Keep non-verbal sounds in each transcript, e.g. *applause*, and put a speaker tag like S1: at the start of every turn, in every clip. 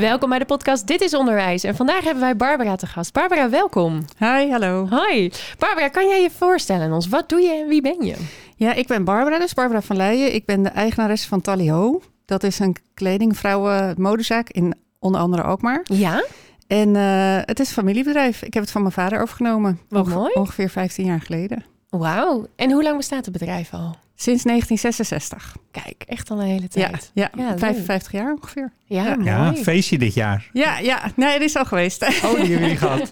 S1: Welkom bij de podcast Dit is Onderwijs. En vandaag hebben wij Barbara te gast. Barbara, welkom.
S2: Hi, hallo.
S1: Hoi. Barbara, kan jij je voorstellen aan ons? Wat doe je en wie ben je?
S2: Ja, ik ben Barbara, dus Barbara van Leijen. Ik ben de eigenares van Tally Ho. Dat is een kledingvrouwen modezaak in onder andere Alkmaar.
S1: Ja?
S2: En eh, het is een familiebedrijf. Ik heb het van mijn vader overgenomen.
S1: Wat mooi.
S2: Ongeveer 15 jaar geleden.
S1: Wauw. En hoe lang bestaat het bedrijf al?
S2: Sinds 1966.
S1: Kijk, echt al een hele
S2: Ja,
S1: tijd.
S2: ja,
S1: Ja, leuk.
S2: 55 jaar ongeveer.
S1: Ja, mooi.
S3: Ja, feestje dit
S2: *laughs*
S3: jaar.
S2: Ja, ja. Nee, het is al geweest.
S3: Oh, die hebben jullie gehad.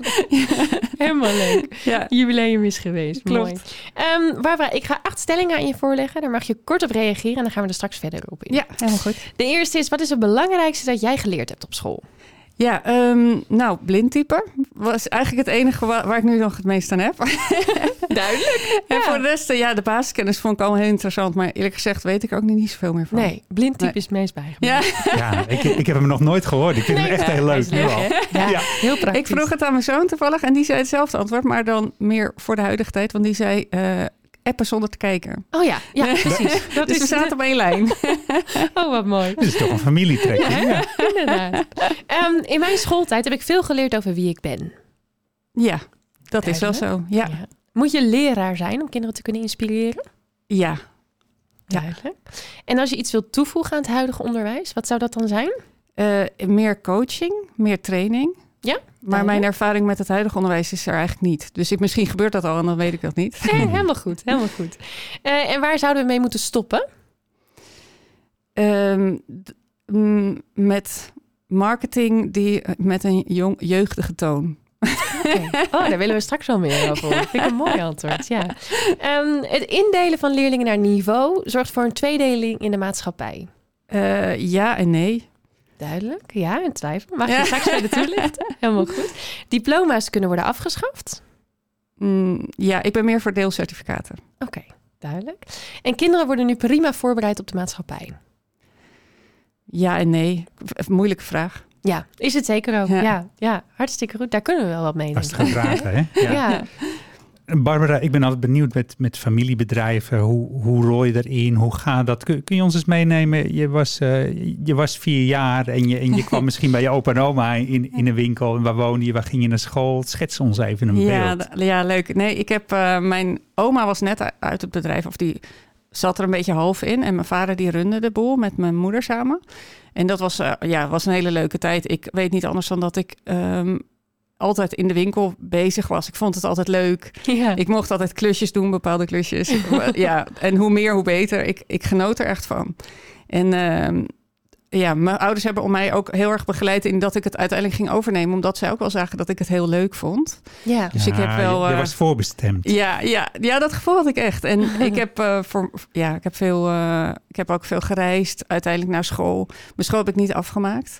S1: Helemaal leuk.
S2: *laughs* ja.
S1: Jubileum is geweest.
S2: Klopt.
S1: Mooi. Ehm, Barbara, ik ga acht stellingen aan je voorleggen. Daar mag je kort op reageren en dan gaan we er straks verder op in.
S2: ja, helemaal goed.
S1: De eerste is, wat is het belangrijkste dat jij geleerd hebt op school?
S2: Ja, ehm, nou, blindtypen was eigenlijk het enige wa- waar ik nu nog het meest aan heb.
S1: Duidelijk.
S2: En voor de rest, eh, ja, de basiskennis vond ik al heel interessant. Maar eerlijk gezegd weet ik er ook niet zoveel meer van.
S1: Nee, blindtype
S2: Nee.
S1: is het meest bijgebleven.
S2: Ja,
S3: Ja, ik, ik heb hem nog nooit gehoord. Ik vind hem echt heel leuk. Nu
S2: *laughs*
S3: al.
S1: Ja,
S3: Ja.
S1: heel praktisch.
S2: ik vroeg het aan mijn zoon toevallig en die zei hetzelfde antwoord, maar dan meer voor de huidige tijd, want die zei eh, appen zonder te kijken.
S1: Oh ja, ja precies. *laughs* Dat
S2: dus we
S1: is
S2: zaten op één
S1: *laughs*
S2: lijn.
S1: Oh, wat mooi.
S3: Dit is toch een familietrekking. Ja.
S1: Inderdaad. Ehm, in mijn schooltijd heb ik veel geleerd over wie ik ben.
S2: ja, dat is wel zo. Ja, ja.
S1: Moet je leraar zijn om kinderen te kunnen inspireren?
S2: Ja.
S1: Duidelijk. En als je iets wilt toevoegen aan het huidige onderwijs, wat zou dat dan zijn?
S2: Eh, meer coaching, meer training.
S1: Ja,
S2: Maar mijn ervaring met het huidige onderwijs is er eigenlijk niet. Dus ik, misschien gebeurt dat al en dan weet ik dat niet.
S1: Nee, helemaal goed, helemaal goed. Hmm. Eh, en waar zouden we mee moeten stoppen?
S2: Ehm, d- mm, met marketing die eh, met een jong, jeugdige toon.
S1: *laughs* Oh, daar willen we straks wel meer over. horen. Vind ik een mooi antwoord, ja. Ehm, het indelen van leerlingen naar niveau zorgt voor een tweedeling in de maatschappij.
S2: Eh, ja en nee.
S1: Duidelijk, ja, en twijfel.
S2: *laughs*
S1: Mag je
S2: Ja.
S1: straks verder toelichten? Helemaal goed. Diploma's kunnen worden afgeschaft.
S2: Mm, ja, ik ben meer voor deelcertificaten.
S1: Oké, duidelijk. En kinderen worden nu prima voorbereid op de maatschappij.
S2: Ja en nee. V- Moeilijke vraag.
S1: Ja, is het zeker ook. Ja,
S2: Ja.
S1: ja, hartstikke goed. Daar kunnen we wel wat mee. denk ik.
S3: Lastige vragen, hè? Ja.
S2: *laughs*
S1: Ja.
S3: Barbara, ik ben altijd benieuwd met, met familiebedrijven. Hoe, hoe rooi je erin? Hoe gaat dat? Kun, kun je ons eens meenemen? Je was, eh, je was vier jaar en je, en je
S2: *laughs*
S3: kwam misschien bij je opa en oma in, in een winkel. En waar woonde je? Waar ging je naar school? Schets ons even een
S2: Ja,
S3: beeld.
S2: d- ja, leuk. Nee, ik heb eh, mijn oma was net u- uit het bedrijf, of die zat er een beetje half in. En mijn vader die runde de boel met mijn moeder samen. En dat was, eh, ja, was een hele leuke tijd. Ik weet niet anders dan dat ik ehm, altijd in de winkel bezig was. Ik vond het altijd leuk.
S1: ja.
S2: *laughs* Ik mocht altijd klusjes doen, bepaalde klusjes. *laughs* ja, en hoe meer, hoe beter. Ik, ik genoot er echt van. En ehm, ja, mijn ouders hebben om mij ook heel erg begeleid in dat ik het uiteindelijk ging overnemen. Omdat zij ook wel zagen dat ik het heel leuk vond.
S1: ja.
S2: dus ik heb
S3: Ja,
S2: wel,
S3: Je, je
S2: eh,
S3: was voorbestemd.
S2: Ja, ja, ja dat gevoel had ik echt. En ik heb, eh, voor, ja, ik heb, veel, eh, ik heb ook veel gereisd, uiteindelijk naar school. Mijn school heb ik niet afgemaakt.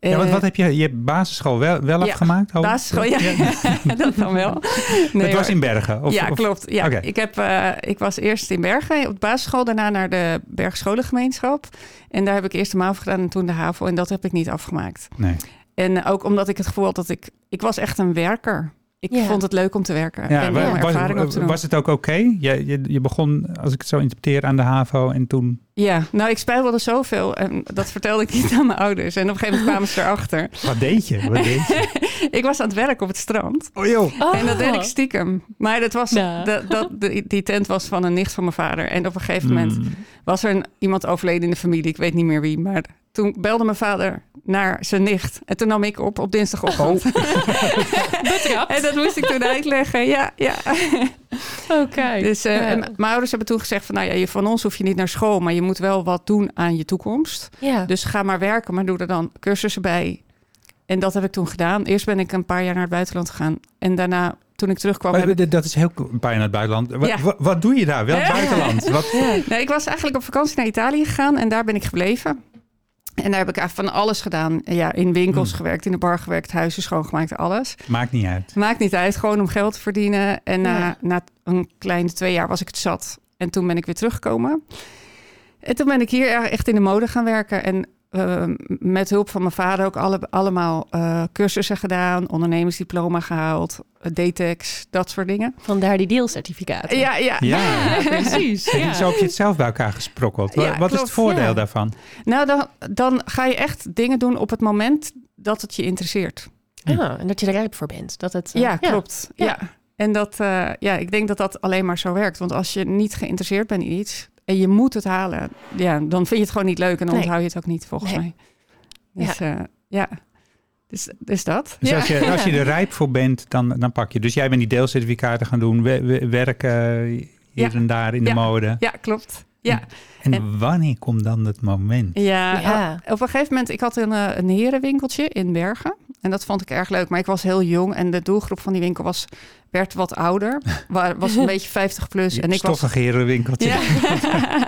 S3: Ja, want
S2: Eh,
S3: wat heb je? Je hebt basisschool wel, wel
S2: ja,
S3: afgemaakt? hoop ik?
S2: basisschool, ja. *laughs* dat dan
S3: *laughs*
S2: wel.
S3: het was
S2: hoor.
S3: in Bergen? Of,
S2: ja,
S3: of-
S2: klopt. Ja,
S3: Oké.
S2: ik, heb, eh, ik was eerst in Bergen op de basisschool, daarna naar de Bergscholengemeenschap. En daar heb ik eerst de MAVO gedaan en toen de HAVO. En dat heb ik niet afgemaakt.
S3: Nee.
S2: En ook omdat ik het gevoel had dat ik... Ik was echt een werker. Ik
S1: Ja.
S2: vond het leuk om te werken.
S3: Ja,
S2: en
S3: wa-
S2: om ervaring op
S3: was,
S2: te doen.
S3: was het ook oké? Je, je, je begon, als ik het zo interpreteer, aan de HAVO en toen...
S2: Ja, nou ik spijbelde zoveel. En dat vertelde ik niet aan mijn ouders. En op een gegeven moment
S1: *laughs*
S2: kwamen ze erachter.
S3: Wat deed je? Wat deed
S2: *laughs*
S3: je?
S2: Ik was aan het werk op het strand.
S3: Oh joh.
S1: Oh.
S2: En dat deed ik stiekem. Maar dat was,
S1: Nou.
S2: dat, dat, die, die tent was van een nicht van mijn vader. En op een gegeven moment
S3: Mm.
S2: was er een, iemand overleden in de familie. Ik weet niet meer wie. Maar toen belde mijn vader naar zijn nicht. En toen nam ik op op dinsdagochtend. En dat moest ik toen uitleggen. Ja, ja.
S1: Oké.
S2: Dus, eh,
S1: Ja.
S2: en mijn ouders hebben toen gezegd van... nou ja, je- van ons hoef je niet naar school... maar je moet wel wat doen aan je toekomst.
S1: ja.
S2: Dus ga maar werken, maar doe er dan cursussen bij. En dat heb ik toen gedaan. Eerst ben ik een paar jaar naar het buitenland gegaan. En daarna, toen ik terugkwam... heb
S3: Maar
S2: ik-
S3: d- dat is heel bijna het buitenland. Wa-
S2: Ja.
S3: wa- wat doe je daar? Welk
S2: Ja.
S3: buitenland? Wat,
S2: Nee, ik was eigenlijk op vakantie naar Italië gegaan en daar ben ik gebleven. En daar heb ik eigenlijk van alles gedaan. Ja, in winkels gewerkt, in de bar gewerkt, huizen schoongemaakt, alles.
S3: Maakt niet uit.
S2: Maakt niet uit, gewoon om geld te verdienen. En
S1: Ja.
S2: na, na een kleine twee jaar was ik het zat. En toen ben ik weer teruggekomen. En toen ben ik hier e- echt in de mode gaan werken. En eh, met hulp van mijn vader ook alle, allemaal eh, cursussen gedaan. Ondernemersdiploma gehaald, eh, DTEX, dat soort dingen.
S1: Vandaar die deelcertificaten. *laughs*
S2: Ja, ja.
S3: Ja.
S1: precies.
S3: En
S1: Ja.
S3: Zo heb je het zelf bij elkaar gesprokkeld. Wa-
S2: Ja,
S3: Wat is
S2: klopt,
S3: het voordeel
S1: ja.
S3: daarvan?
S2: Nou, dan, dan ga je echt dingen doen op het moment dat het je interesseert.
S1: Ah, en dat je er rijp voor bent. Dat het, eh,
S2: ja, klopt. Ja.
S1: Ja.
S2: En dat, eh, ja, ik denk dat dat alleen maar zo werkt. Want als je niet geïnteresseerd bent in iets en je moet het halen, ja, dan vind je het gewoon niet leuk en dan
S1: Nee.
S2: onthoud je het ook niet, volgens
S1: Nee.
S2: mij. Dus ja, ja. Dus, dus dat.
S3: Dus
S2: ja.
S3: als, je, als je er rijp voor bent, dan, dan pak je. Dus jij bent die deelcertificaten gaan doen, we- we- werken hier
S2: Ja.
S3: en daar in de
S2: Ja.
S3: mode.
S2: ja, klopt. Ja.
S3: En wanneer komt dan het moment?
S2: Ja,
S1: Ja.
S2: eh, op een gegeven moment, ik had een, eh, een herenwinkeltje in Bergen. En dat vond ik erg leuk, maar ik was heel jong en de doelgroep van die winkel was, werd wat
S1: *laughs*
S2: ouder. Wa- Was een beetje 50 plus. dus- En ik was
S3: Stoffig herenwinkeltje.
S2: *laughs* Ja.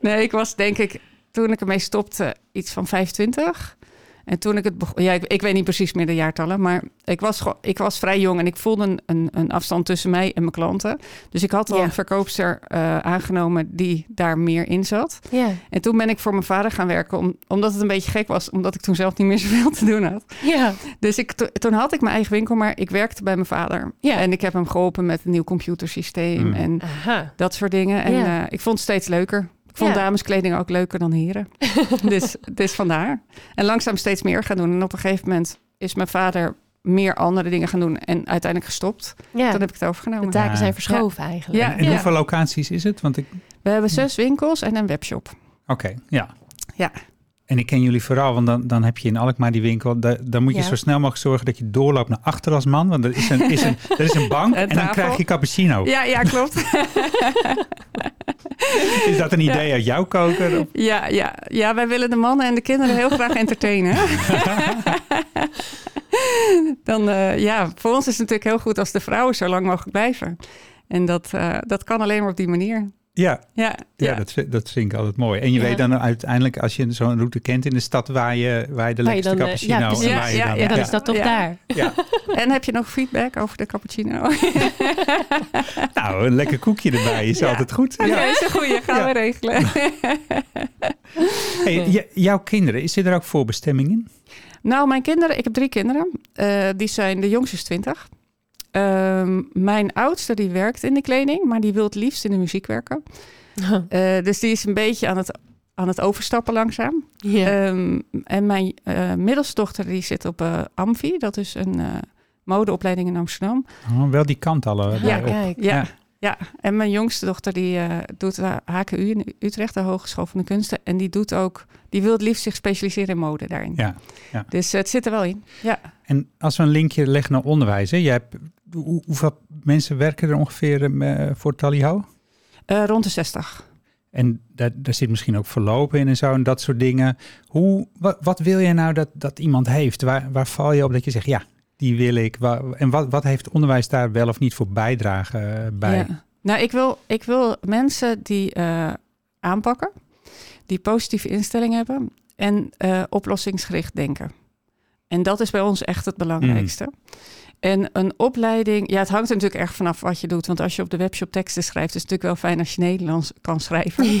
S2: nee, ik was denk ik, toen ik ermee stopte, iets van 25. En toen ik het begon, ja, ik, ik weet niet precies meer de jaartallen, maar ik was, gewoon- ik was vrij jong en ik voelde een, een, een afstand tussen mij en mijn klanten. Dus ik had al
S1: Ja.
S2: een verkoopster eh, aangenomen die daar meer in zat.
S1: Ja.
S2: En toen ben ik voor mijn vader gaan werken, om, omdat het een beetje gek was, omdat ik toen zelf niet meer *laughs* zoveel te doen had.
S1: Ja.
S2: Dus ik, to- toen had ik mijn eigen winkel, maar ik werkte bij mijn vader.
S1: Ja.
S2: En ik heb hem geholpen met een nieuw computersysteem.
S3: Mm.
S2: En
S1: Aha.
S2: dat soort dingen. En
S1: Ja.
S2: eh, ik vond het steeds leuker. Ik vond
S1: Ja.
S2: dameskleding ook leuker dan
S1: *laughs*
S2: heren. dus, dus vandaar. En langzaam steeds meer gaan doen. En op een gegeven moment is mijn vader meer andere dingen gaan doen. En uiteindelijk gestopt.
S1: Ja.
S2: Dan heb ik het
S1: De
S2: overgenomen.
S1: taken
S3: Ja.
S1: zijn verschoven eigenlijk.
S2: Ja.
S3: En hoeveel locaties is het? Want ik,
S2: We hebben zes winkels en een webshop.
S3: oké, ja.
S2: Ja.
S3: En ik ken jullie vooral, want dan, dan heb je in Alkmaar die winkel. Da- dan moet je
S1: Ja.
S3: zo snel mogelijk zorgen dat je doorloopt naar achter als man. Want er is een, is een, er is een
S1: *laughs*
S3: bank
S2: Een
S3: en dan
S2: tafel.
S3: krijg je cappuccino.
S2: Ja, ja, klopt.
S3: Is dat een idee uit jouw koker? Of-
S2: ja, ja, ja, wij willen de mannen en de kinderen heel *laughs* graag entertainen. Dan, eh, ja, voor ons is het natuurlijk heel goed als de vrouwen zo lang mogelijk blijven. En dat, eh, dat kan alleen maar op die manier.
S3: Ja,
S2: Ja,
S3: Ja, dat, vind- dat vind ik altijd mooi. En je
S1: Ja.
S3: weet dan uiteindelijk, als je zo'n route kent in de stad, waar je, waar je de
S1: Waar je
S3: lekkerste
S1: dan, eh,
S3: cappuccino
S1: ja, precies.
S3: en waar je
S2: Ja,
S3: dan-
S2: ja,
S1: Dan
S2: ja.
S1: is dat toch
S2: Ja.
S1: daar.
S3: ja.
S2: En heb je nog feedback over de *laughs* cappuccino?
S3: Nou, een lekker koekje erbij is
S2: Ja.
S3: altijd goed. Ja.
S2: is een goeie. Gaan
S3: Ja.
S2: we regelen.
S3: Hey, j- jouw kinderen, is er ook voorbestemming in?
S2: *laughs* nou, mijn kinderen, ik heb drie kinderen. Eh, die zijn, de jongste is 20. Ehm, mijn oudste die werkt in de kleding, maar die wil het liefst in de muziek werken. Eh, dus die is een beetje aan het, aan het overstappen langzaam.
S1: *laughs* Ja.
S2: Ehm, en mijn eh, middelste dochter die zit op eh Amfi, dat is een eh, modeopleiding in Amsterdam.
S3: Oh, wel die kant al. eh,
S1: Ja,
S3: op.
S1: Ah, kijk.
S2: Ja.
S3: Ja.
S2: ja. en mijn jongste dochter die eh, doet de HKU in Utrecht, de Hogeschool van de Kunsten. En die doet ook, die wil het liefst zich specialiseren in mode daarin.
S3: Ja.
S2: Dus eh, het zit er wel in. Ja.
S3: En als we een linkje leggen naar onderwijs, hè, jij hebt, hoe- hoeveel mensen werken er ongeveer eh, voor Taliho?
S2: Eh, rond de 60.
S3: En daar, daar zit misschien ook verlopen in en zo en dat soort dingen. Hoe, wat, wat wil je nou dat, dat iemand heeft? Waar, waar val je op dat je zegt, ja, die wil ik. Wa- en wat, wat heeft onderwijs daar wel of niet voor bijdrage eh, bij?
S2: Ja. Nou, ik wil, ik wil mensen die eh, aanpakken, die positieve instelling hebben en eh, oplossingsgericht denken. En dat is bij ons echt het belangrijkste.
S3: Mm.
S2: En een opleiding, ja, het hangt er natuurlijk erg vanaf wat je doet. Want als je op de webshop teksten schrijft, is het natuurlijk wel fijn als je Nederlands kan schrijven.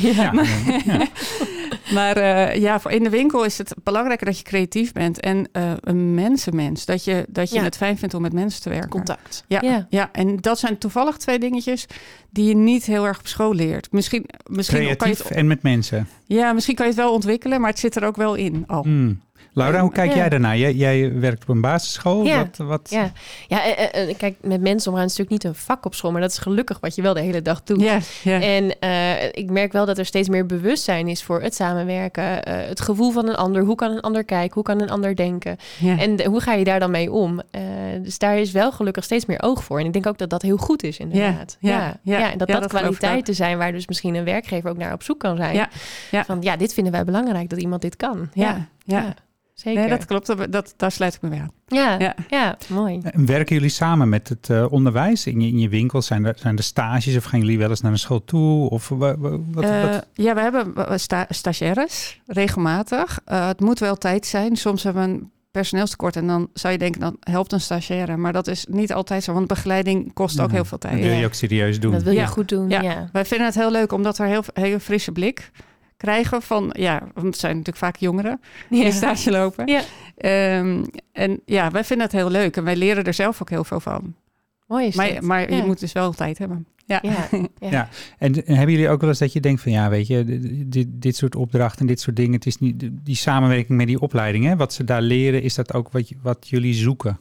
S3: *laughs* Ja,
S1: *laughs*
S3: ja.
S2: *laughs* Maar eh, ja, voor in de winkel is het belangrijker dat je creatief bent en eh, een mensenmens. Dat je, dat je
S1: Ja.
S2: het fijn vindt om met mensen te werken.
S1: Contact.
S2: Ja,
S1: Ja.
S2: ja. en dat zijn toevallig twee dingetjes die je niet heel erg op school leert. Misschien, misschien, kan, je
S3: Creatief
S2: het,
S3: en met mensen.
S2: ja, misschien kan je het wel ontwikkelen, maar het zit er ook wel in al.
S3: Mm. Laura, hoe kijk
S1: Ja.
S3: jij daarnaar? Jij, jij werkt op een basisschool.
S1: Ja.
S3: Wat, wat,
S1: Ja, ja en- en- en kijk, met mensen omgaan is natuurlijk niet een vak op school, maar dat is gelukkig wat je wel de hele dag doet.
S2: Ja, ja.
S1: En eh, ik merk wel dat er steeds meer bewustzijn is voor het samenwerken, eh, het gevoel van een ander. Hoe kan een ander kijken? Hoe kan een ander denken?
S2: ja.
S1: En de- hoe ga je daar dan mee om? Eh, dus daar is wel gelukkig steeds meer oog voor. En ik denk ook dat dat heel goed is, inderdaad.
S2: ja, ja.
S1: en dat
S2: Ja,
S1: dat,
S2: dat geloof ik
S1: kwaliteiten zijn waar dus misschien een werkgever ook naar op zoek kan zijn.
S2: Ja, ja.
S1: Van ja, dit vinden wij belangrijk dat iemand dit kan.
S2: ja, ja.
S1: ja. Zeker.
S2: Nee, dat klopt. Dat, dat, daar sluit ik me weer aan.
S1: ja, ja.
S2: Ja.
S1: mooi.
S3: En werken jullie samen met het eh, onderwijs in je, in je winkel? Zijn er, zijn er stages of gaan jullie wel eens naar een school toe? Of wa- wa- wat,
S2: Eh,
S3: wat-
S2: Ja, we hebben eh, sta stagiaires, regelmatig. Eh, het moet wel tijd zijn. Soms hebben we een personeelstekort en dan zou je denken, dan helpt een stagiaire. Maar dat is niet altijd zo, want begeleiding kost ook
S3: Ja.
S2: heel veel
S3: dat
S2: tijd.
S3: wil
S1: ja.
S3: je ook serieus doen?
S1: Dat wil je
S2: Ja.
S1: goed doen. Ja.
S2: Ja. Wij vinden het heel leuk, omdat we heel, heel frisse blik krijgen van, ja, want het zijn natuurlijk vaak jongeren die
S1: Ja.
S2: *laughs* stage lopen.
S1: Ja.
S2: Ehm, en ja, wij vinden het heel leuk en wij leren er zelf ook heel veel van.
S1: Mooi is dat.
S2: Maar, maar
S1: Ja.
S2: je moet dus wel tijd hebben.
S1: Ja.
S3: En, en hebben jullie ook wel eens dat je denkt van ja, weet je, dit- dit, dit soort opdrachten en dit soort dingen, het is niet die samenwerking met die opleiding, hè, wat ze daar leren, is dat ook wat, je- wat jullie zoeken?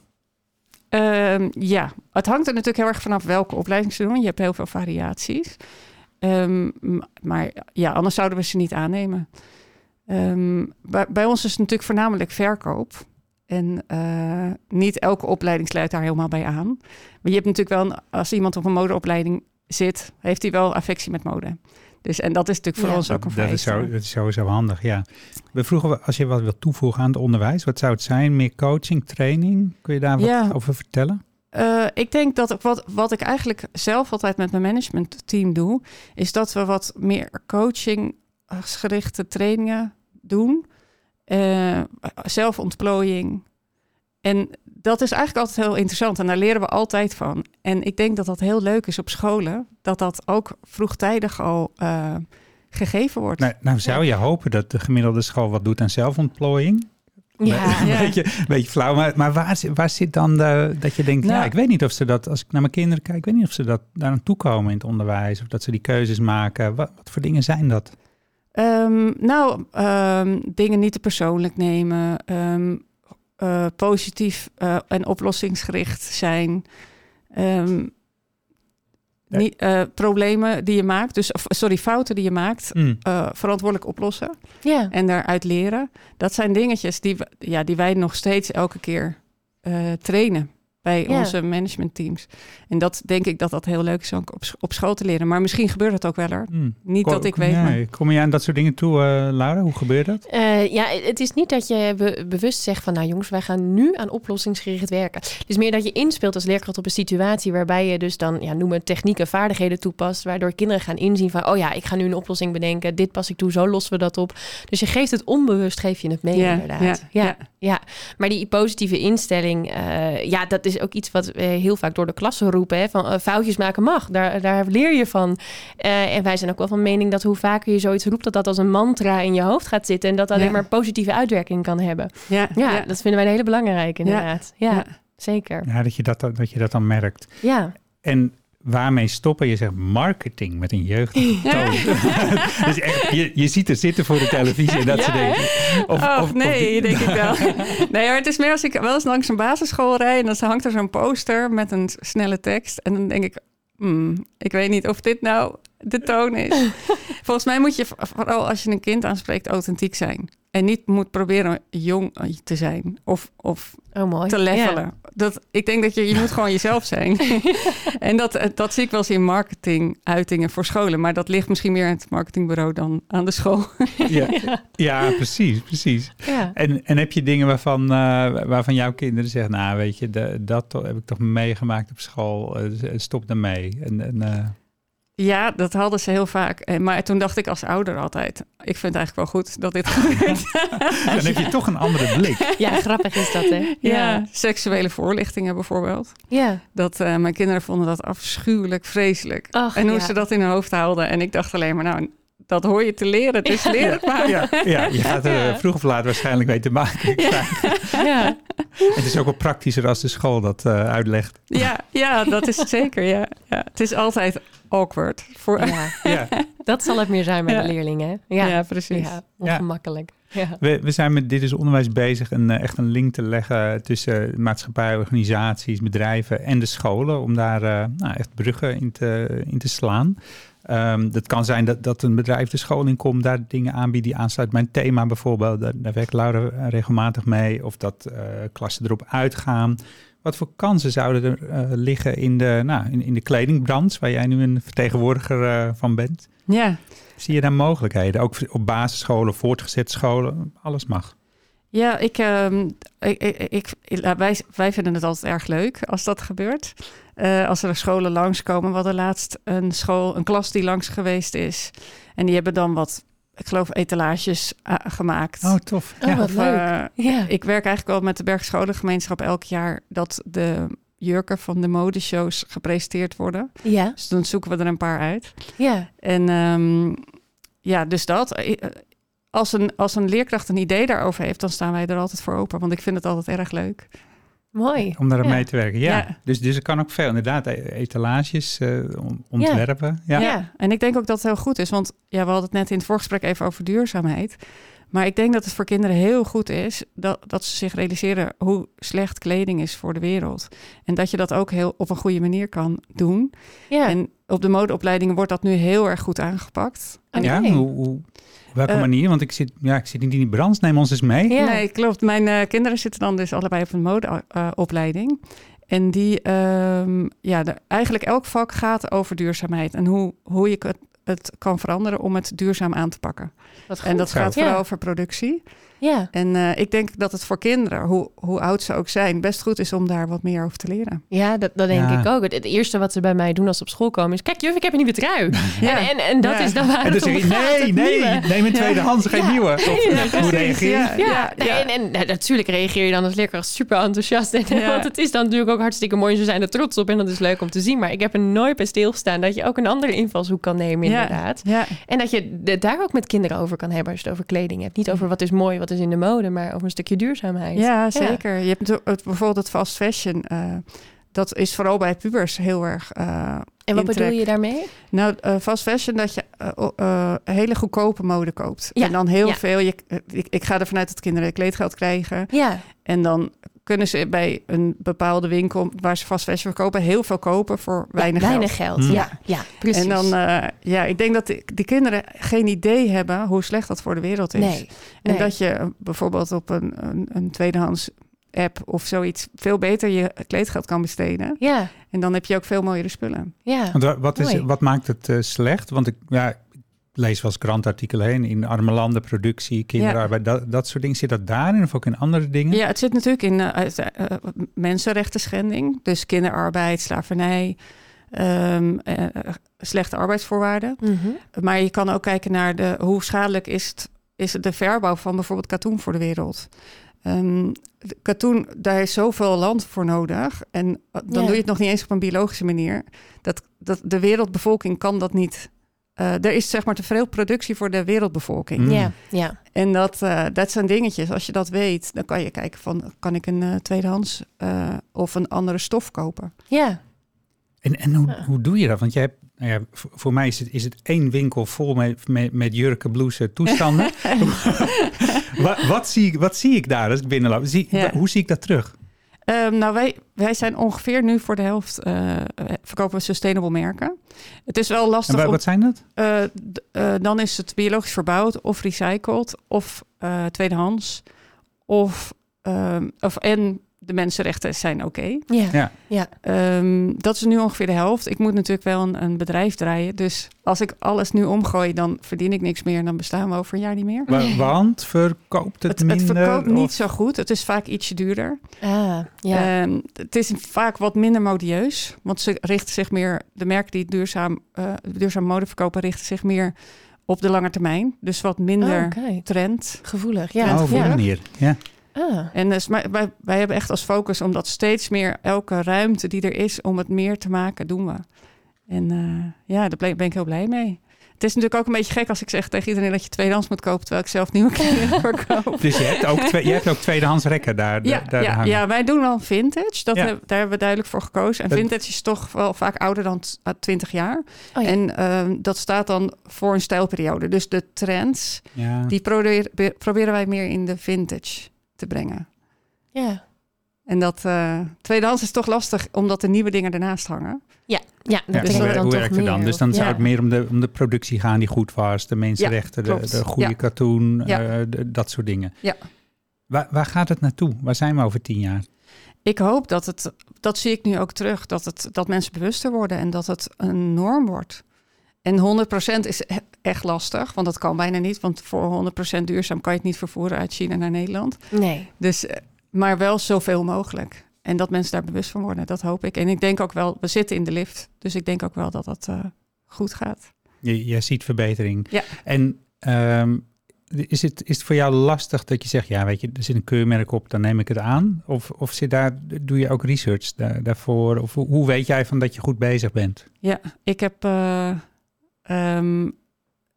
S2: Ehm, ja, het hangt er natuurlijk heel erg vanaf welke opleiding ze doen. Je hebt heel veel variaties. Ehm, m- maar ja, anders zouden we ze niet aannemen. Ehm, bij, bij ons is het natuurlijk voornamelijk verkoop. En eh, niet elke opleiding sluit daar helemaal bij aan. Maar je hebt natuurlijk wel, een, als iemand op een modeopleiding zit, heeft hij wel affectie met mode. Dus, en dat is natuurlijk voor
S1: Ja.
S2: ons ook een
S3: dat, is zo,
S2: vereiste.
S3: dat is sowieso handig, ja. We vroegen we- als je wat wilt toevoegen aan het onderwijs, wat zou het zijn? Meer coaching, training? Kun je daar wat
S2: Ja.
S3: over vertellen?
S2: Eh, ik denk dat ik wat, wat ik eigenlijk zelf altijd met mijn managementteam doe, is dat we wat meer coachinggerichte trainingen doen. Eh, zelfontplooiing. En dat is eigenlijk altijd heel interessant en daar leren we altijd van. En ik denk dat dat heel leuk is op scholen, dat dat ook vroegtijdig al eh, gegeven wordt.
S3: Nou, nou zou je hopen dat de gemiddelde school wat doet aan zelfontplooiing?
S1: Ja.
S2: Ja.
S3: Een beetje, een beetje flauw, maar, maar waar, zit- waar zit dan de, dat je denkt,
S2: Nou.
S3: ja, ik weet niet of ze dat, als ik naar mijn kinderen kijk, ik weet niet of ze dat daar aan toekomen in het onderwijs, of dat ze die keuzes maken. Wat, wat voor dingen zijn dat?
S2: Ehm, nou, ehm, dingen niet te persoonlijk nemen. ehm, eh, positief eh, en oplossingsgericht zijn. Ehm,
S3: Ja.
S2: niet, eh, problemen die je maakt, dus of, sorry, fouten die je maakt,
S3: Hm.
S2: eh, verantwoordelijk oplossen
S1: Ja.
S2: en daaruit leren. Dat zijn dingetjes die, we- ja, die wij nog steeds elke keer eh, trainen bij
S1: Ja.
S2: onze managementteams. En dat denk ik dat dat heel leuk is om op, sch- op school te leren. Maar misschien gebeurt dat ook wel er.
S3: Hm.
S2: Niet
S3: Ko-
S2: dat ik weet. maar-
S3: nee. Kom je aan dat soort dingen toe, eh, Laura? Hoe gebeurt dat?
S1: Eh, ja, het is niet dat je be- bewust zegt van... nou jongens, wij gaan nu aan oplossingsgericht werken. Het is meer dat je inspeelt als leerkracht op een situatie... waarbij je dus dan, ja, noem het technieken, vaardigheden toepast... waardoor kinderen gaan inzien van... oh ja, ik ga nu een oplossing bedenken, dit pas ik toe, zo lossen we dat op. Dus je geeft het onbewust, geef je het mee
S2: Ja,
S1: inderdaad.
S2: ja,
S1: Ja, ja.
S2: ja.
S1: maar die positieve instelling... eh, ja, dat is ook iets wat we heel vaak door de klassen roepen... Hè, van eh, foutjes maken mag, daar, daar leer je van. Eh, en wij zijn ook wel van mening dat hoe vaker je zoiets roept, dat dat als een mantra in je hoofd gaat zitten en dat alleen
S2: Ja.
S1: maar positieve uitwerking kan hebben.
S2: Ja,
S1: Ja,
S2: ja.
S1: dat vinden wij een hele belangrijke inderdaad. Ja,
S2: Ja.
S1: zeker.
S3: Ja, dat, je dat, dat je dat dan merkt.
S1: Ja.
S3: En waarmee stoppen? Je zegt marketing met een jeugdige toon. *laughs* dus echt, je, je ziet er zitten voor de televisie en dat
S1: Ja,
S3: soort
S1: hè?
S3: dingen. Of,
S2: Oh,
S3: of- of die-
S2: nee, denk ik
S3: *laughs*
S2: wel. nee, maar het is meer als ik wel eens langs een basisschool rijd... en dan hangt er zo'n poster met een s- snelle tekst. En dan denk ik, hmm, ik weet niet of dit nou de toon *laughs* is. Volgens mij moet je, v- vooral als je een kind aanspreekt, authentiek zijn. En niet moet proberen jong eh, te zijn of, of
S1: Oh, mooi.
S2: te levelen. Dat, ik denk dat je, je moet gewoon jezelf *laughs* zijn. en dat, eh, dat zie ik wel eens in marketinguitingen voor scholen. Maar dat ligt misschien meer aan het marketingbureau dan aan de school.
S3: *laughs* Ja, ja, precies, precies.
S1: Ja. ja.
S3: En, en heb je dingen waarvan, eh, waarvan jouw kinderen zeggen, nou weet je, de- dat to- heb ik toch meegemaakt op school, eh, dus, eh, stop daarmee. En, en, eh,
S2: Ja, dat hadden ze heel vaak. Eh, Maar toen dacht ik als ouder altijd... ik vind het eigenlijk wel goed dat dit *laughs*
S1: *laughs*
S2: gebeurt.
S3: dan heb je toch een andere blik.
S1: Ja, grappig is dat, hè?
S2: ja, seksuele voorlichtingen bijvoorbeeld.
S1: Ja.
S2: Dat, eh, mijn kinderen vonden dat afschuwelijk, vreselijk.
S1: Ach,
S2: en hoe
S1: ja.
S2: ze dat in hun hoofd haalden. En ik dacht alleen maar, nou, dat hoor je te
S1: *laughs*
S2: leren. Dus leer het maar.
S3: Ja, ja, je gaat er eh, vroeg of laat waarschijnlijk mee te maken krijgen.
S1: ja.
S3: Het is ook wel praktischer als de school dat eh, uitlegt.
S2: Ja, ja, dat is het zeker. Ja. Ja, het is altijd awkward. Voor, ja,
S1: Ja.
S3: Ja.
S1: Dat zal het meer zijn bij
S2: *laughs* Ja.
S1: de leerlingen. hè? Ja. Ja.
S2: precies.
S1: Ongemakkelijk. Ja.
S3: We, we zijn met Dit is Onderwijs bezig een, eh, echt een link te leggen tussen maatschappij, organisaties, bedrijven en de scholen. Om daar eh, nou, echt bruggen in te, in te slaan. Ehm, dat kan zijn dat, dat een bedrijf de school in komt, daar dingen aanbiedt die aansluit bij een thema bijvoorbeeld. Daar, daar werkt Laura eh, regelmatig mee. Of dat eh, klassen erop uitgaan. Wat voor kansen zouden er eh, liggen in de, nou, in, in de kledingbranche, waar jij nu een vertegenwoordiger eh, van bent?
S2: Ja.
S3: Zie je daar mogelijkheden? Ook op basisscholen, voortgezet scholen, alles mag.
S2: Ja, ik, ehm, ik, ik, ik- nou, wij, wij vinden het altijd erg leuk als dat gebeurt. Eh, als er scholen langskomen. We hadden laatst een school, een klas die langs geweest is. En die hebben dan wat, ik geloof, etalages ah, gemaakt.
S3: Oh, tof.
S1: Oh,
S3: ja.
S1: wat leuk.
S2: eh,
S1: Ja.
S2: ik werk eigenlijk al met de Bergscholengemeenschap elk jaar dat de jurken van de modeshows gepresenteerd worden.
S1: Ja.
S2: Dus dan zoeken we er een paar uit.
S1: Ja.
S2: En ehm, ja, dus dat. Eh, eh, Als een, als een leerkracht een idee daarover heeft, dan staan wij er altijd voor open. Want ik vind het altijd erg leuk.
S1: Mooi.
S3: Om daar aan
S1: Ja.
S3: mee te werken. Ja.
S2: Ja.
S3: Dus, dus er kan ook veel, inderdaad, e- etalages, eh, on- ontwerpen. Ja.
S1: Ja.
S2: En ik denk ook dat het heel goed is. Want ja, we hadden het net in het voorgesprek even over duurzaamheid. Maar ik denk dat het voor kinderen heel goed is dat, dat ze zich realiseren hoe slecht kleding is voor de wereld. En dat je dat ook heel op een goede manier kan doen.
S1: Ja.
S2: En op de modeopleidingen wordt dat nu heel erg goed aangepakt.
S1: Oké.
S3: Ja, hoe, hoe, op welke
S2: Eh,
S3: manier? Want ik zit, ja, ik zit niet in die branche, neem ons eens mee.
S1: Ja.
S2: Nee, klopt. Mijn eh, kinderen zitten dan dus allebei op een modeopleiding. en die, ehm, ja, de- eigenlijk elk vak gaat over duurzaamheid en hoe, hoe je het, het kan veranderen om het duurzaam aan te pakken.
S1: Wat goed.
S2: en dat
S3: zo.
S2: gaat vooral
S1: Ja.
S2: over productie.
S1: Ja.
S2: En eh, ik denk dat het voor kinderen, hoe, hoe oud ze ook zijn, best goed is om daar wat meer over te leren.
S1: Ja, dat, dat denk
S3: Ja.
S1: ik ook. Het, het eerste wat ze bij mij doen als ze op school komen is... Kijk juf, ik heb een nieuwe
S3: *laughs*
S1: trui.
S2: Ja.
S1: En, en, en dat
S2: Ja.
S1: is dan waar
S3: En dan
S1: het
S3: zeg
S1: om
S3: ik,
S1: gaat.
S3: nee,
S1: het
S3: nee,
S1: nieuwe.
S3: neem een tweedehands, geen
S1: Ja.
S3: nieuwe. Of,
S1: Ja,
S3: hoe reageer je?
S2: Ja,
S1: Ja,
S2: ja,
S1: nee,
S2: ja.
S1: en, en nou, natuurlijk reageer je dan als leerkracht super enthousiast. En,
S2: Ja.
S1: Want het is dan natuurlijk ook hartstikke mooi. en Ze zijn er trots op en dat is leuk om te zien. Maar ik heb er nooit bij stilgestaan dat je ook een andere invalshoek kan nemen,
S2: Ja.
S1: inderdaad.
S2: Ja.
S1: En dat je het daar ook met kinderen over kan hebben als je het over kleding hebt. Niet over wat is mooi, wat is in de mode, maar over een stukje duurzaamheid.
S2: Ja, zeker. Je hebt het- het, bijvoorbeeld het fast fashion. eh, dat is vooral bij pubers heel erg eh,
S1: En wat
S2: Intrek.
S1: bedoel je daarmee?
S2: Nou, eh, fast fashion, dat je eh, o- eh, hele goedkope mode koopt.
S1: Ja,
S2: En dan heel
S1: ja.
S2: veel. Je, eh, ik, ik ga ervan uit dat kinderen kleedgeld krijgen.
S1: Ja,
S2: En dan kunnen ze bij een bepaalde winkel waar ze fast fashion verkopen, heel veel kopen voor weinig geld.
S1: weinig geld.
S3: Hmm.
S1: Ja, ja, precies.
S2: En dan, eh, ja, ik denk dat die, die kinderen geen idee hebben hoe slecht dat voor de wereld is.
S1: nee, nee.
S2: En dat je eh, bijvoorbeeld op een, een, een tweedehands app of zoiets veel beter je kleedgeld kan besteden.
S1: Ja,
S2: En dan heb je ook veel mooiere spullen.
S1: ja.
S3: Want wa- wat, is,
S1: Mooi.
S3: wat maakt het eh, slecht? Want ik, ja, ik lees wel eens krantartikelen heen. In arme landen, productie, kinderarbeid, dat, dat soort dingen. Zit dat daarin of ook in andere dingen?
S2: Ja, het zit natuurlijk in eh, uit- eh, mensenrechten schending. Dus kinderarbeid, slavernij, ehm, eh, slechte arbeidsvoorwaarden.
S1: Mhm.
S2: Maar je kan ook kijken naar de, hoe schadelijk is, het, is de verbouw van bijvoorbeeld katoen voor de wereld. Ehm, de katoen, daar is zoveel land voor nodig. En eh, dan
S1: Ja.
S2: doe je het nog niet eens op een biologische manier. Dat, dat, de wereldbevolking kan dat niet. Eh, er is zeg maar te veel productie voor de wereldbevolking.
S3: Mm.
S1: Ja, ja.
S2: En dat, eh, dat zijn dingetjes. Als je dat weet, dan kan je kijken van... kan ik een eh, tweedehands eh, of een andere stof kopen?
S1: Ja,
S3: En, en hoe,
S1: Ja.
S3: hoe doe je dat? Want jij hebt, nou ja, voor, voor mij is het, is het één winkel vol met, met, met jurken, blouses,
S2: *laughs*
S3: toestanden. wat, wat, zie, ik- wat zie ik daar als ik binnenloop? Zie,
S2: Ja.
S3: wa- Hoe zie ik dat terug?
S2: Ehm, nou, wij, wij zijn ongeveer nu voor de helft... eh, verkopen we sustainable merken. Het is wel
S3: En
S2: lastig
S3: wa-
S2: om...
S3: wat zijn dat?
S2: eh, d- eh, dan is het biologisch verbouwd of recycled of eh, tweedehands. Of, ehm, of, en de mensenrechten zijn oké.
S1: ja.
S3: Ja.
S2: Ehm, dat is nu ongeveer de helft. Ik moet natuurlijk wel een, een bedrijf draaien. Dus als ik alles nu omgooi, dan verdien ik niks meer. En dan bestaan we over een jaar niet meer.
S3: Wa- Want verkoopt het,
S2: Het, het
S3: minder?
S2: verkoopt
S3: of-
S2: niet zo goed. Het is vaak ietsje duurder.
S1: Ah, ja.
S2: Ehm, het is vaak wat minder modieus. Want ze richten zich meer, de merken die duurzaam, eh, duurzaam mode verkopen, richten zich meer op de lange termijn. Dus wat minder
S1: Oh, kijk.
S2: trend.
S1: Gevoelig,
S3: Oh,
S1: ja.
S3: op die
S1: ja.
S3: manier.
S2: *laughs*
S3: Ja.
S1: Ah,
S2: En dus, maar wij, wij hebben echt als focus om dat steeds meer elke ruimte die er is om het meer te maken, doen we. En eh, ja, daar ble- ben ik heel blij mee. Het is natuurlijk ook een beetje gek als ik zeg tegen iedereen dat je tweedehands moet kopen, terwijl ik zelf nieuwe
S1: *laughs*
S2: kleren verkoop.
S3: Dus je hebt ook, twee, je hebt ook tweedehands rekken daar,
S2: Ja,
S3: daar
S2: ja,
S3: hangen.
S2: ja, wij doen wel vintage. Dat
S3: Ja.
S2: heb- daar hebben we duidelijk voor gekozen. En
S3: Dat-
S2: vintage is toch wel vaak ouder dan t- ah, 20 jaar.
S1: Oh ja.
S2: En ehm, dat staat dan voor een stijlperiode. Dus de trends,
S3: Ja.
S2: die probeer- be- proberen wij meer in de vintage te brengen.
S1: ja.
S2: En dat eh, tweedehands is toch lastig, omdat er nieuwe dingen ernaast hangen.
S1: Ja,
S3: Ja,
S1: dat
S2: dus
S1: brengt
S3: hoe
S1: dan
S3: wer-
S1: toch
S3: hoe werkt het
S1: meer
S3: dan? Dus
S1: op.
S3: dan
S1: ja.
S3: zou het meer om de, om de productie gaan die goed was, de mensenrechten, de,
S2: klopt.
S3: de goede
S2: Ja.
S3: katoen,
S2: Ja.
S3: eh, de- dat soort dingen.
S2: Ja.
S3: Waar, waar gaat het naartoe? Waar zijn we over tien jaar?
S2: Ik hoop dat het, dat zie ik nu ook terug, dat, het, dat mensen bewuster worden en dat het een norm wordt. En 100% is, echt lastig, want dat kan bijna niet. Want voor 100% duurzaam kan je het niet vervoeren uit China naar Nederland.
S1: Nee.
S2: Dus, eh, maar wel zoveel mogelijk. En dat mensen daar bewust van worden, dat hoop ik. En ik denk ook wel, we zitten in de lift, dus ik denk ook wel dat dat eh, goed gaat.
S3: Je, je ziet verbetering.
S2: Ja.
S3: En ehm, is, het, is het voor jou lastig dat je zegt, ja, weet je, er zit een keurmerk op, dan neem ik het aan? Of, of zit daar, doe je ook research da- daarvoor? Of hoe, hoe weet jij van dat je goed bezig bent?
S2: Ja, ik heb. eh, ehm,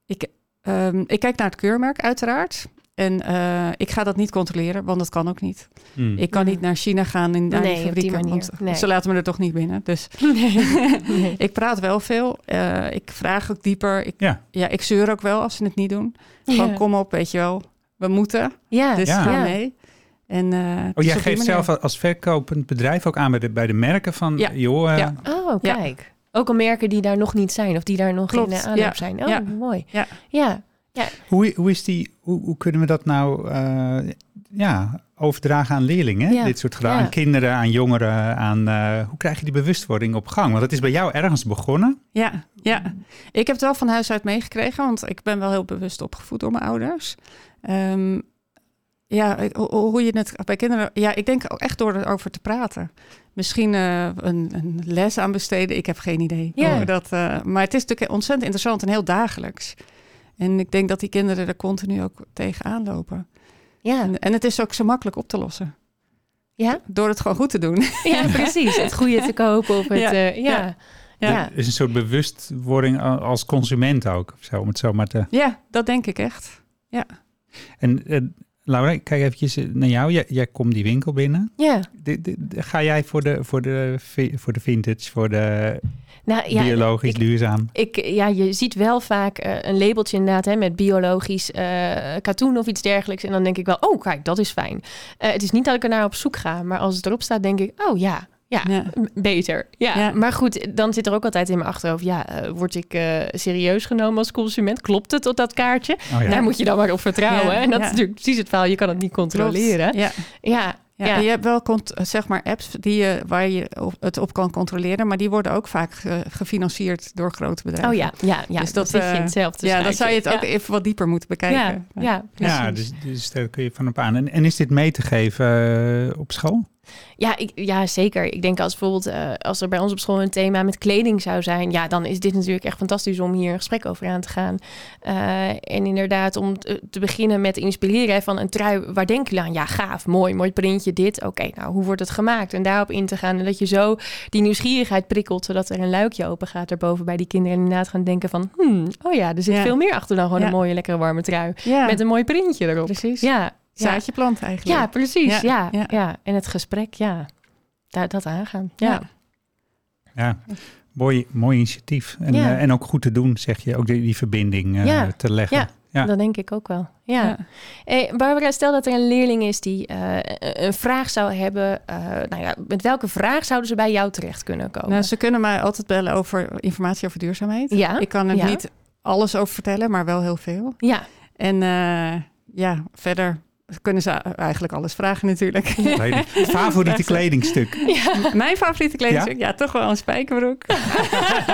S2: ik, ehm, ik kijk naar het keurmerk, uiteraard. En eh, ik ga dat niet controleren, want dat kan ook niet.
S3: Hm.
S2: Ik kan
S1: Mhm.
S2: niet naar China gaan in naar
S1: Nee,
S2: die
S1: op die
S2: fabrieken,
S1: manier.
S2: want
S1: Nee.
S2: ze laten me er toch niet binnen. Dus
S1: *laughs*
S2: *laughs*
S1: Nee.
S2: ik praat wel veel. eh, ik vraag ook dieper. Ik,
S3: Ja.
S2: ja, ik zeur ook wel als ze het niet doen. Van kom op, weet je wel. We moeten.
S1: Ja.
S2: Dus
S3: Ja.
S2: ga
S1: Ja.
S2: mee. En, eh,
S3: Oh,
S2: dus
S3: jij
S2: op die
S3: geeft
S2: manier.
S3: zelf als verkopend bedrijf ook aan bij de, bij de merken van,
S2: Ja.
S3: joh, eh,
S2: Ja.
S1: Oh,
S2: Ja.
S1: kijk. Ook al merken die daar nog niet zijn of die daar nog
S2: Klopt,
S1: in eh, aanloop
S2: ja.
S1: zijn. Oh,
S2: Ja.
S1: mooi.
S2: Ja.
S1: ja.
S3: hoe, hoe, is die, hoe, hoe kunnen we dat nou eh, ja, overdragen aan leerlingen?
S1: Ja.
S3: Dit soort gedrag,
S1: Ja.
S3: aan kinderen, aan jongeren. Aan, eh, hoe krijg je die bewustwording op gang? Want dat is bij jou ergens begonnen.
S2: Ja, ja, ik heb het wel van huis uit meegekregen, want ik ben wel heel bewust opgevoed door mijn ouders. Ehm, ja, ik- ho- ho- hoe je het bij kinderen. Ja, ik denk ook echt door erover te praten. Misschien eh, een, een les aan besteden, ik heb geen idee.
S1: Ja.
S2: Hoe dat, eh, maar het is natuurlijk ontzettend interessant en heel dagelijks. En ik denk dat die kinderen er continu ook tegenaan lopen. *laughs*
S1: Ja.
S2: En, en het is ook zo makkelijk op te lossen.
S1: Ja?
S2: Door het gewoon goed te doen.
S1: ja, precies. Het goede te kopen op het...
S2: Ja.
S1: eh, ja.
S2: Ja.
S1: Ja.
S3: Er is een soort bewustwording a- als consument ook, of zo, om het zo maar te...
S2: Ja, *laughs* dat denk ik echt.
S3: En eh, Laura, ik kijk eventjes eh, naar jou. Jij, jij komt die winkel binnen.
S1: Ja.
S3: De- de- de- ga jij voor de, voor, de, vi- voor de vintage, voor de
S1: Nou, ja,
S3: biologisch
S1: ik-
S3: duurzaam?
S1: Ik, ja, je ziet wel vaak eh, een labeltje inderdaad hè, met biologisch eh, katoen of iets dergelijks. En dan denk ik wel, oh kijk, dat is fijn. Eh, het is niet dat ik ernaar op zoek ga, maar als het erop staat denk ik, oh ja, ja,
S2: Ja.
S1: m- beter. Ja.
S2: Ja.
S1: Maar goed, dan zit er ook altijd in mijn achterhoofd, ja, eh, word ik eh, serieus genomen als consument? Klopt het op dat kaartje?
S3: Oh ja.
S1: Daar moet je dan maar op vertrouwen.
S2: Ja,
S1: En dat
S2: ja.
S1: is natuurlijk precies het verhaal, je kan het niet controleren.
S2: Ja.
S1: Ja,
S2: Ja,
S1: ja.
S2: en je hebt wel cont- eh, zeg maar apps die je, waar je op- het op kan controleren, maar die worden ook vaak ge- gefinancierd door grote bedrijven.
S1: Oh ja, ja, ja.
S2: Dus
S1: dat zit
S2: dat,
S1: je in
S2: eh,
S1: hetzelfde
S2: ja dan zou je het ook
S1: schuitje.
S2: even wat dieper moeten bekijken.
S1: ja. Ja, ja, Nou, precies.
S3: Ja, dus, dus daar kun je van op aan. En, en is dit mee te geven eh, op school?
S1: Ja, ik, ja, zeker. Ik denk als bijvoorbeeld eh, als er bij ons op school een thema met kleding zou zijn, ja, dan is dit natuurlijk echt fantastisch om hier een gesprek over aan te gaan. Eh, en inderdaad, om te, te beginnen met inspireren hè, van een trui, waar denken jullie aan? Ja, gaaf, mooi, mooi printje, dit. Oké, nou, hoe wordt het gemaakt? En daarop in te gaan. En dat je zo die nieuwsgierigheid prikkelt, zodat er een luikje open gaat daarboven bij die kinderen. En inderdaad gaan denken van, hmm, oh ja, er zit
S2: Ja.
S1: veel meer achter dan gewoon
S2: Ja.
S1: een mooie, lekkere, warme trui.
S2: Ja,
S1: Met een mooi printje erop.
S2: precies.
S1: Ja, ja.
S2: Zaadje plant eigenlijk.
S1: Ja, precies. Ja,
S2: Ja,
S1: ja,
S2: ja.
S1: En het gesprek, ja. Daar, dat aangaan. Ja.
S2: Ja.
S3: Ja, mooi, mooi initiatief. En,
S1: Ja.
S3: eh, en ook goed te doen, zeg je. Ook die, die verbinding eh,
S1: Ja.
S3: te leggen.
S1: Ja. Dat denk ik ook wel. Ja. Hey, Barbara, stel dat er een leerling is die eh, een vraag zou hebben. eh, nou ja, met welke vraag zouden ze bij jou terecht kunnen komen?
S2: Nou, ze kunnen mij altijd bellen over informatie over duurzaamheid.
S1: ja.
S2: Ik kan er
S1: Ja.
S2: niet alles over vertellen, maar wel heel veel.
S1: ja.
S2: En eh, ja, verder kunnen ze eigenlijk alles vragen natuurlijk.
S3: *laughs* Kleding. Favoriete kledingstuk.
S1: ja.
S2: *laughs* Mijn favoriete kledingstuk? Ja? toch wel een spijkerbroek.
S1: *laughs*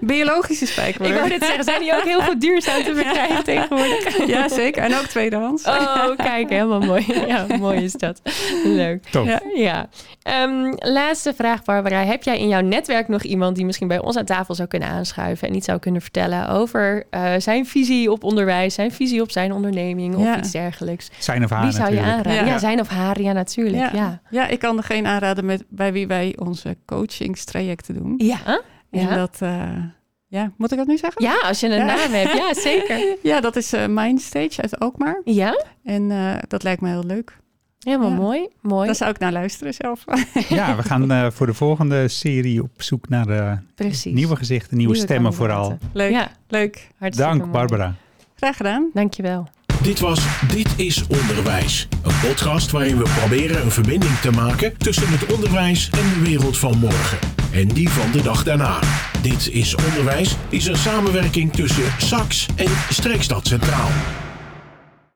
S2: Biologische spijkerbroek.
S1: Ik wou dit zeggen, zijn die ook heel goed duurzaam
S2: *laughs*
S1: te verkrijgen tegenwoordig?
S2: Ja, zeker. En ook tweedehands.
S1: Oh, kijk, helemaal mooi. Ja, mooi is dat. Leuk.
S3: Tof.
S2: Ja.
S1: Ja. Ehm, laatste vraag, Barbara. Heb jij in jouw netwerk nog iemand die misschien bij ons aan tafel zou kunnen aanschuiven en iets zou kunnen vertellen over eh, zijn visie op onderwijs, zijn visie op zijn onderneming
S2: Ja.
S1: of iets dergelijks?
S3: Zijn of haar
S1: Wie zou je
S3: natuurlijk.
S1: aanraden? Ja.
S2: Ja.
S1: zijn of haar, ja, natuurlijk. Ja. Ja.
S2: ja, ik kan degene aanraden met, bij wie wij onze coachingstrajecten doen.
S1: Ja.
S2: En
S1: Ja.
S2: dat, eh, ja, moet ik dat nu zeggen?
S1: als je een
S2: Ja.
S1: naam hebt. Ja,
S2: *laughs*
S1: zeker.
S2: Ja, dat is eh, Mindstage uit Alkmaar.
S1: Ja,
S2: En eh, dat lijkt me heel leuk.
S1: helemaal
S2: Ja.
S1: mooi. Mooi.
S2: Daar zou ik naar luisteren zelf. *laughs*
S3: Ja, we gaan eh, voor de volgende serie op zoek naar eh,
S1: Precies.
S3: nieuwe gezichten, nieuwe, stemmen vooral.
S1: kandidaten.
S2: Leuk,
S1: Ja,
S2: leuk.
S1: hartstikke
S3: Dank
S1: mooi.
S3: Barbara.
S2: Graag gedaan.
S1: Dankjewel.
S4: Dit was Dit is Onderwijs. Een podcast waarin we proberen een verbinding te maken tussen het onderwijs en de wereld van morgen. En die van de dag daarna. Dit is Onderwijs is een samenwerking tussen SAX en Streekstad Centraal.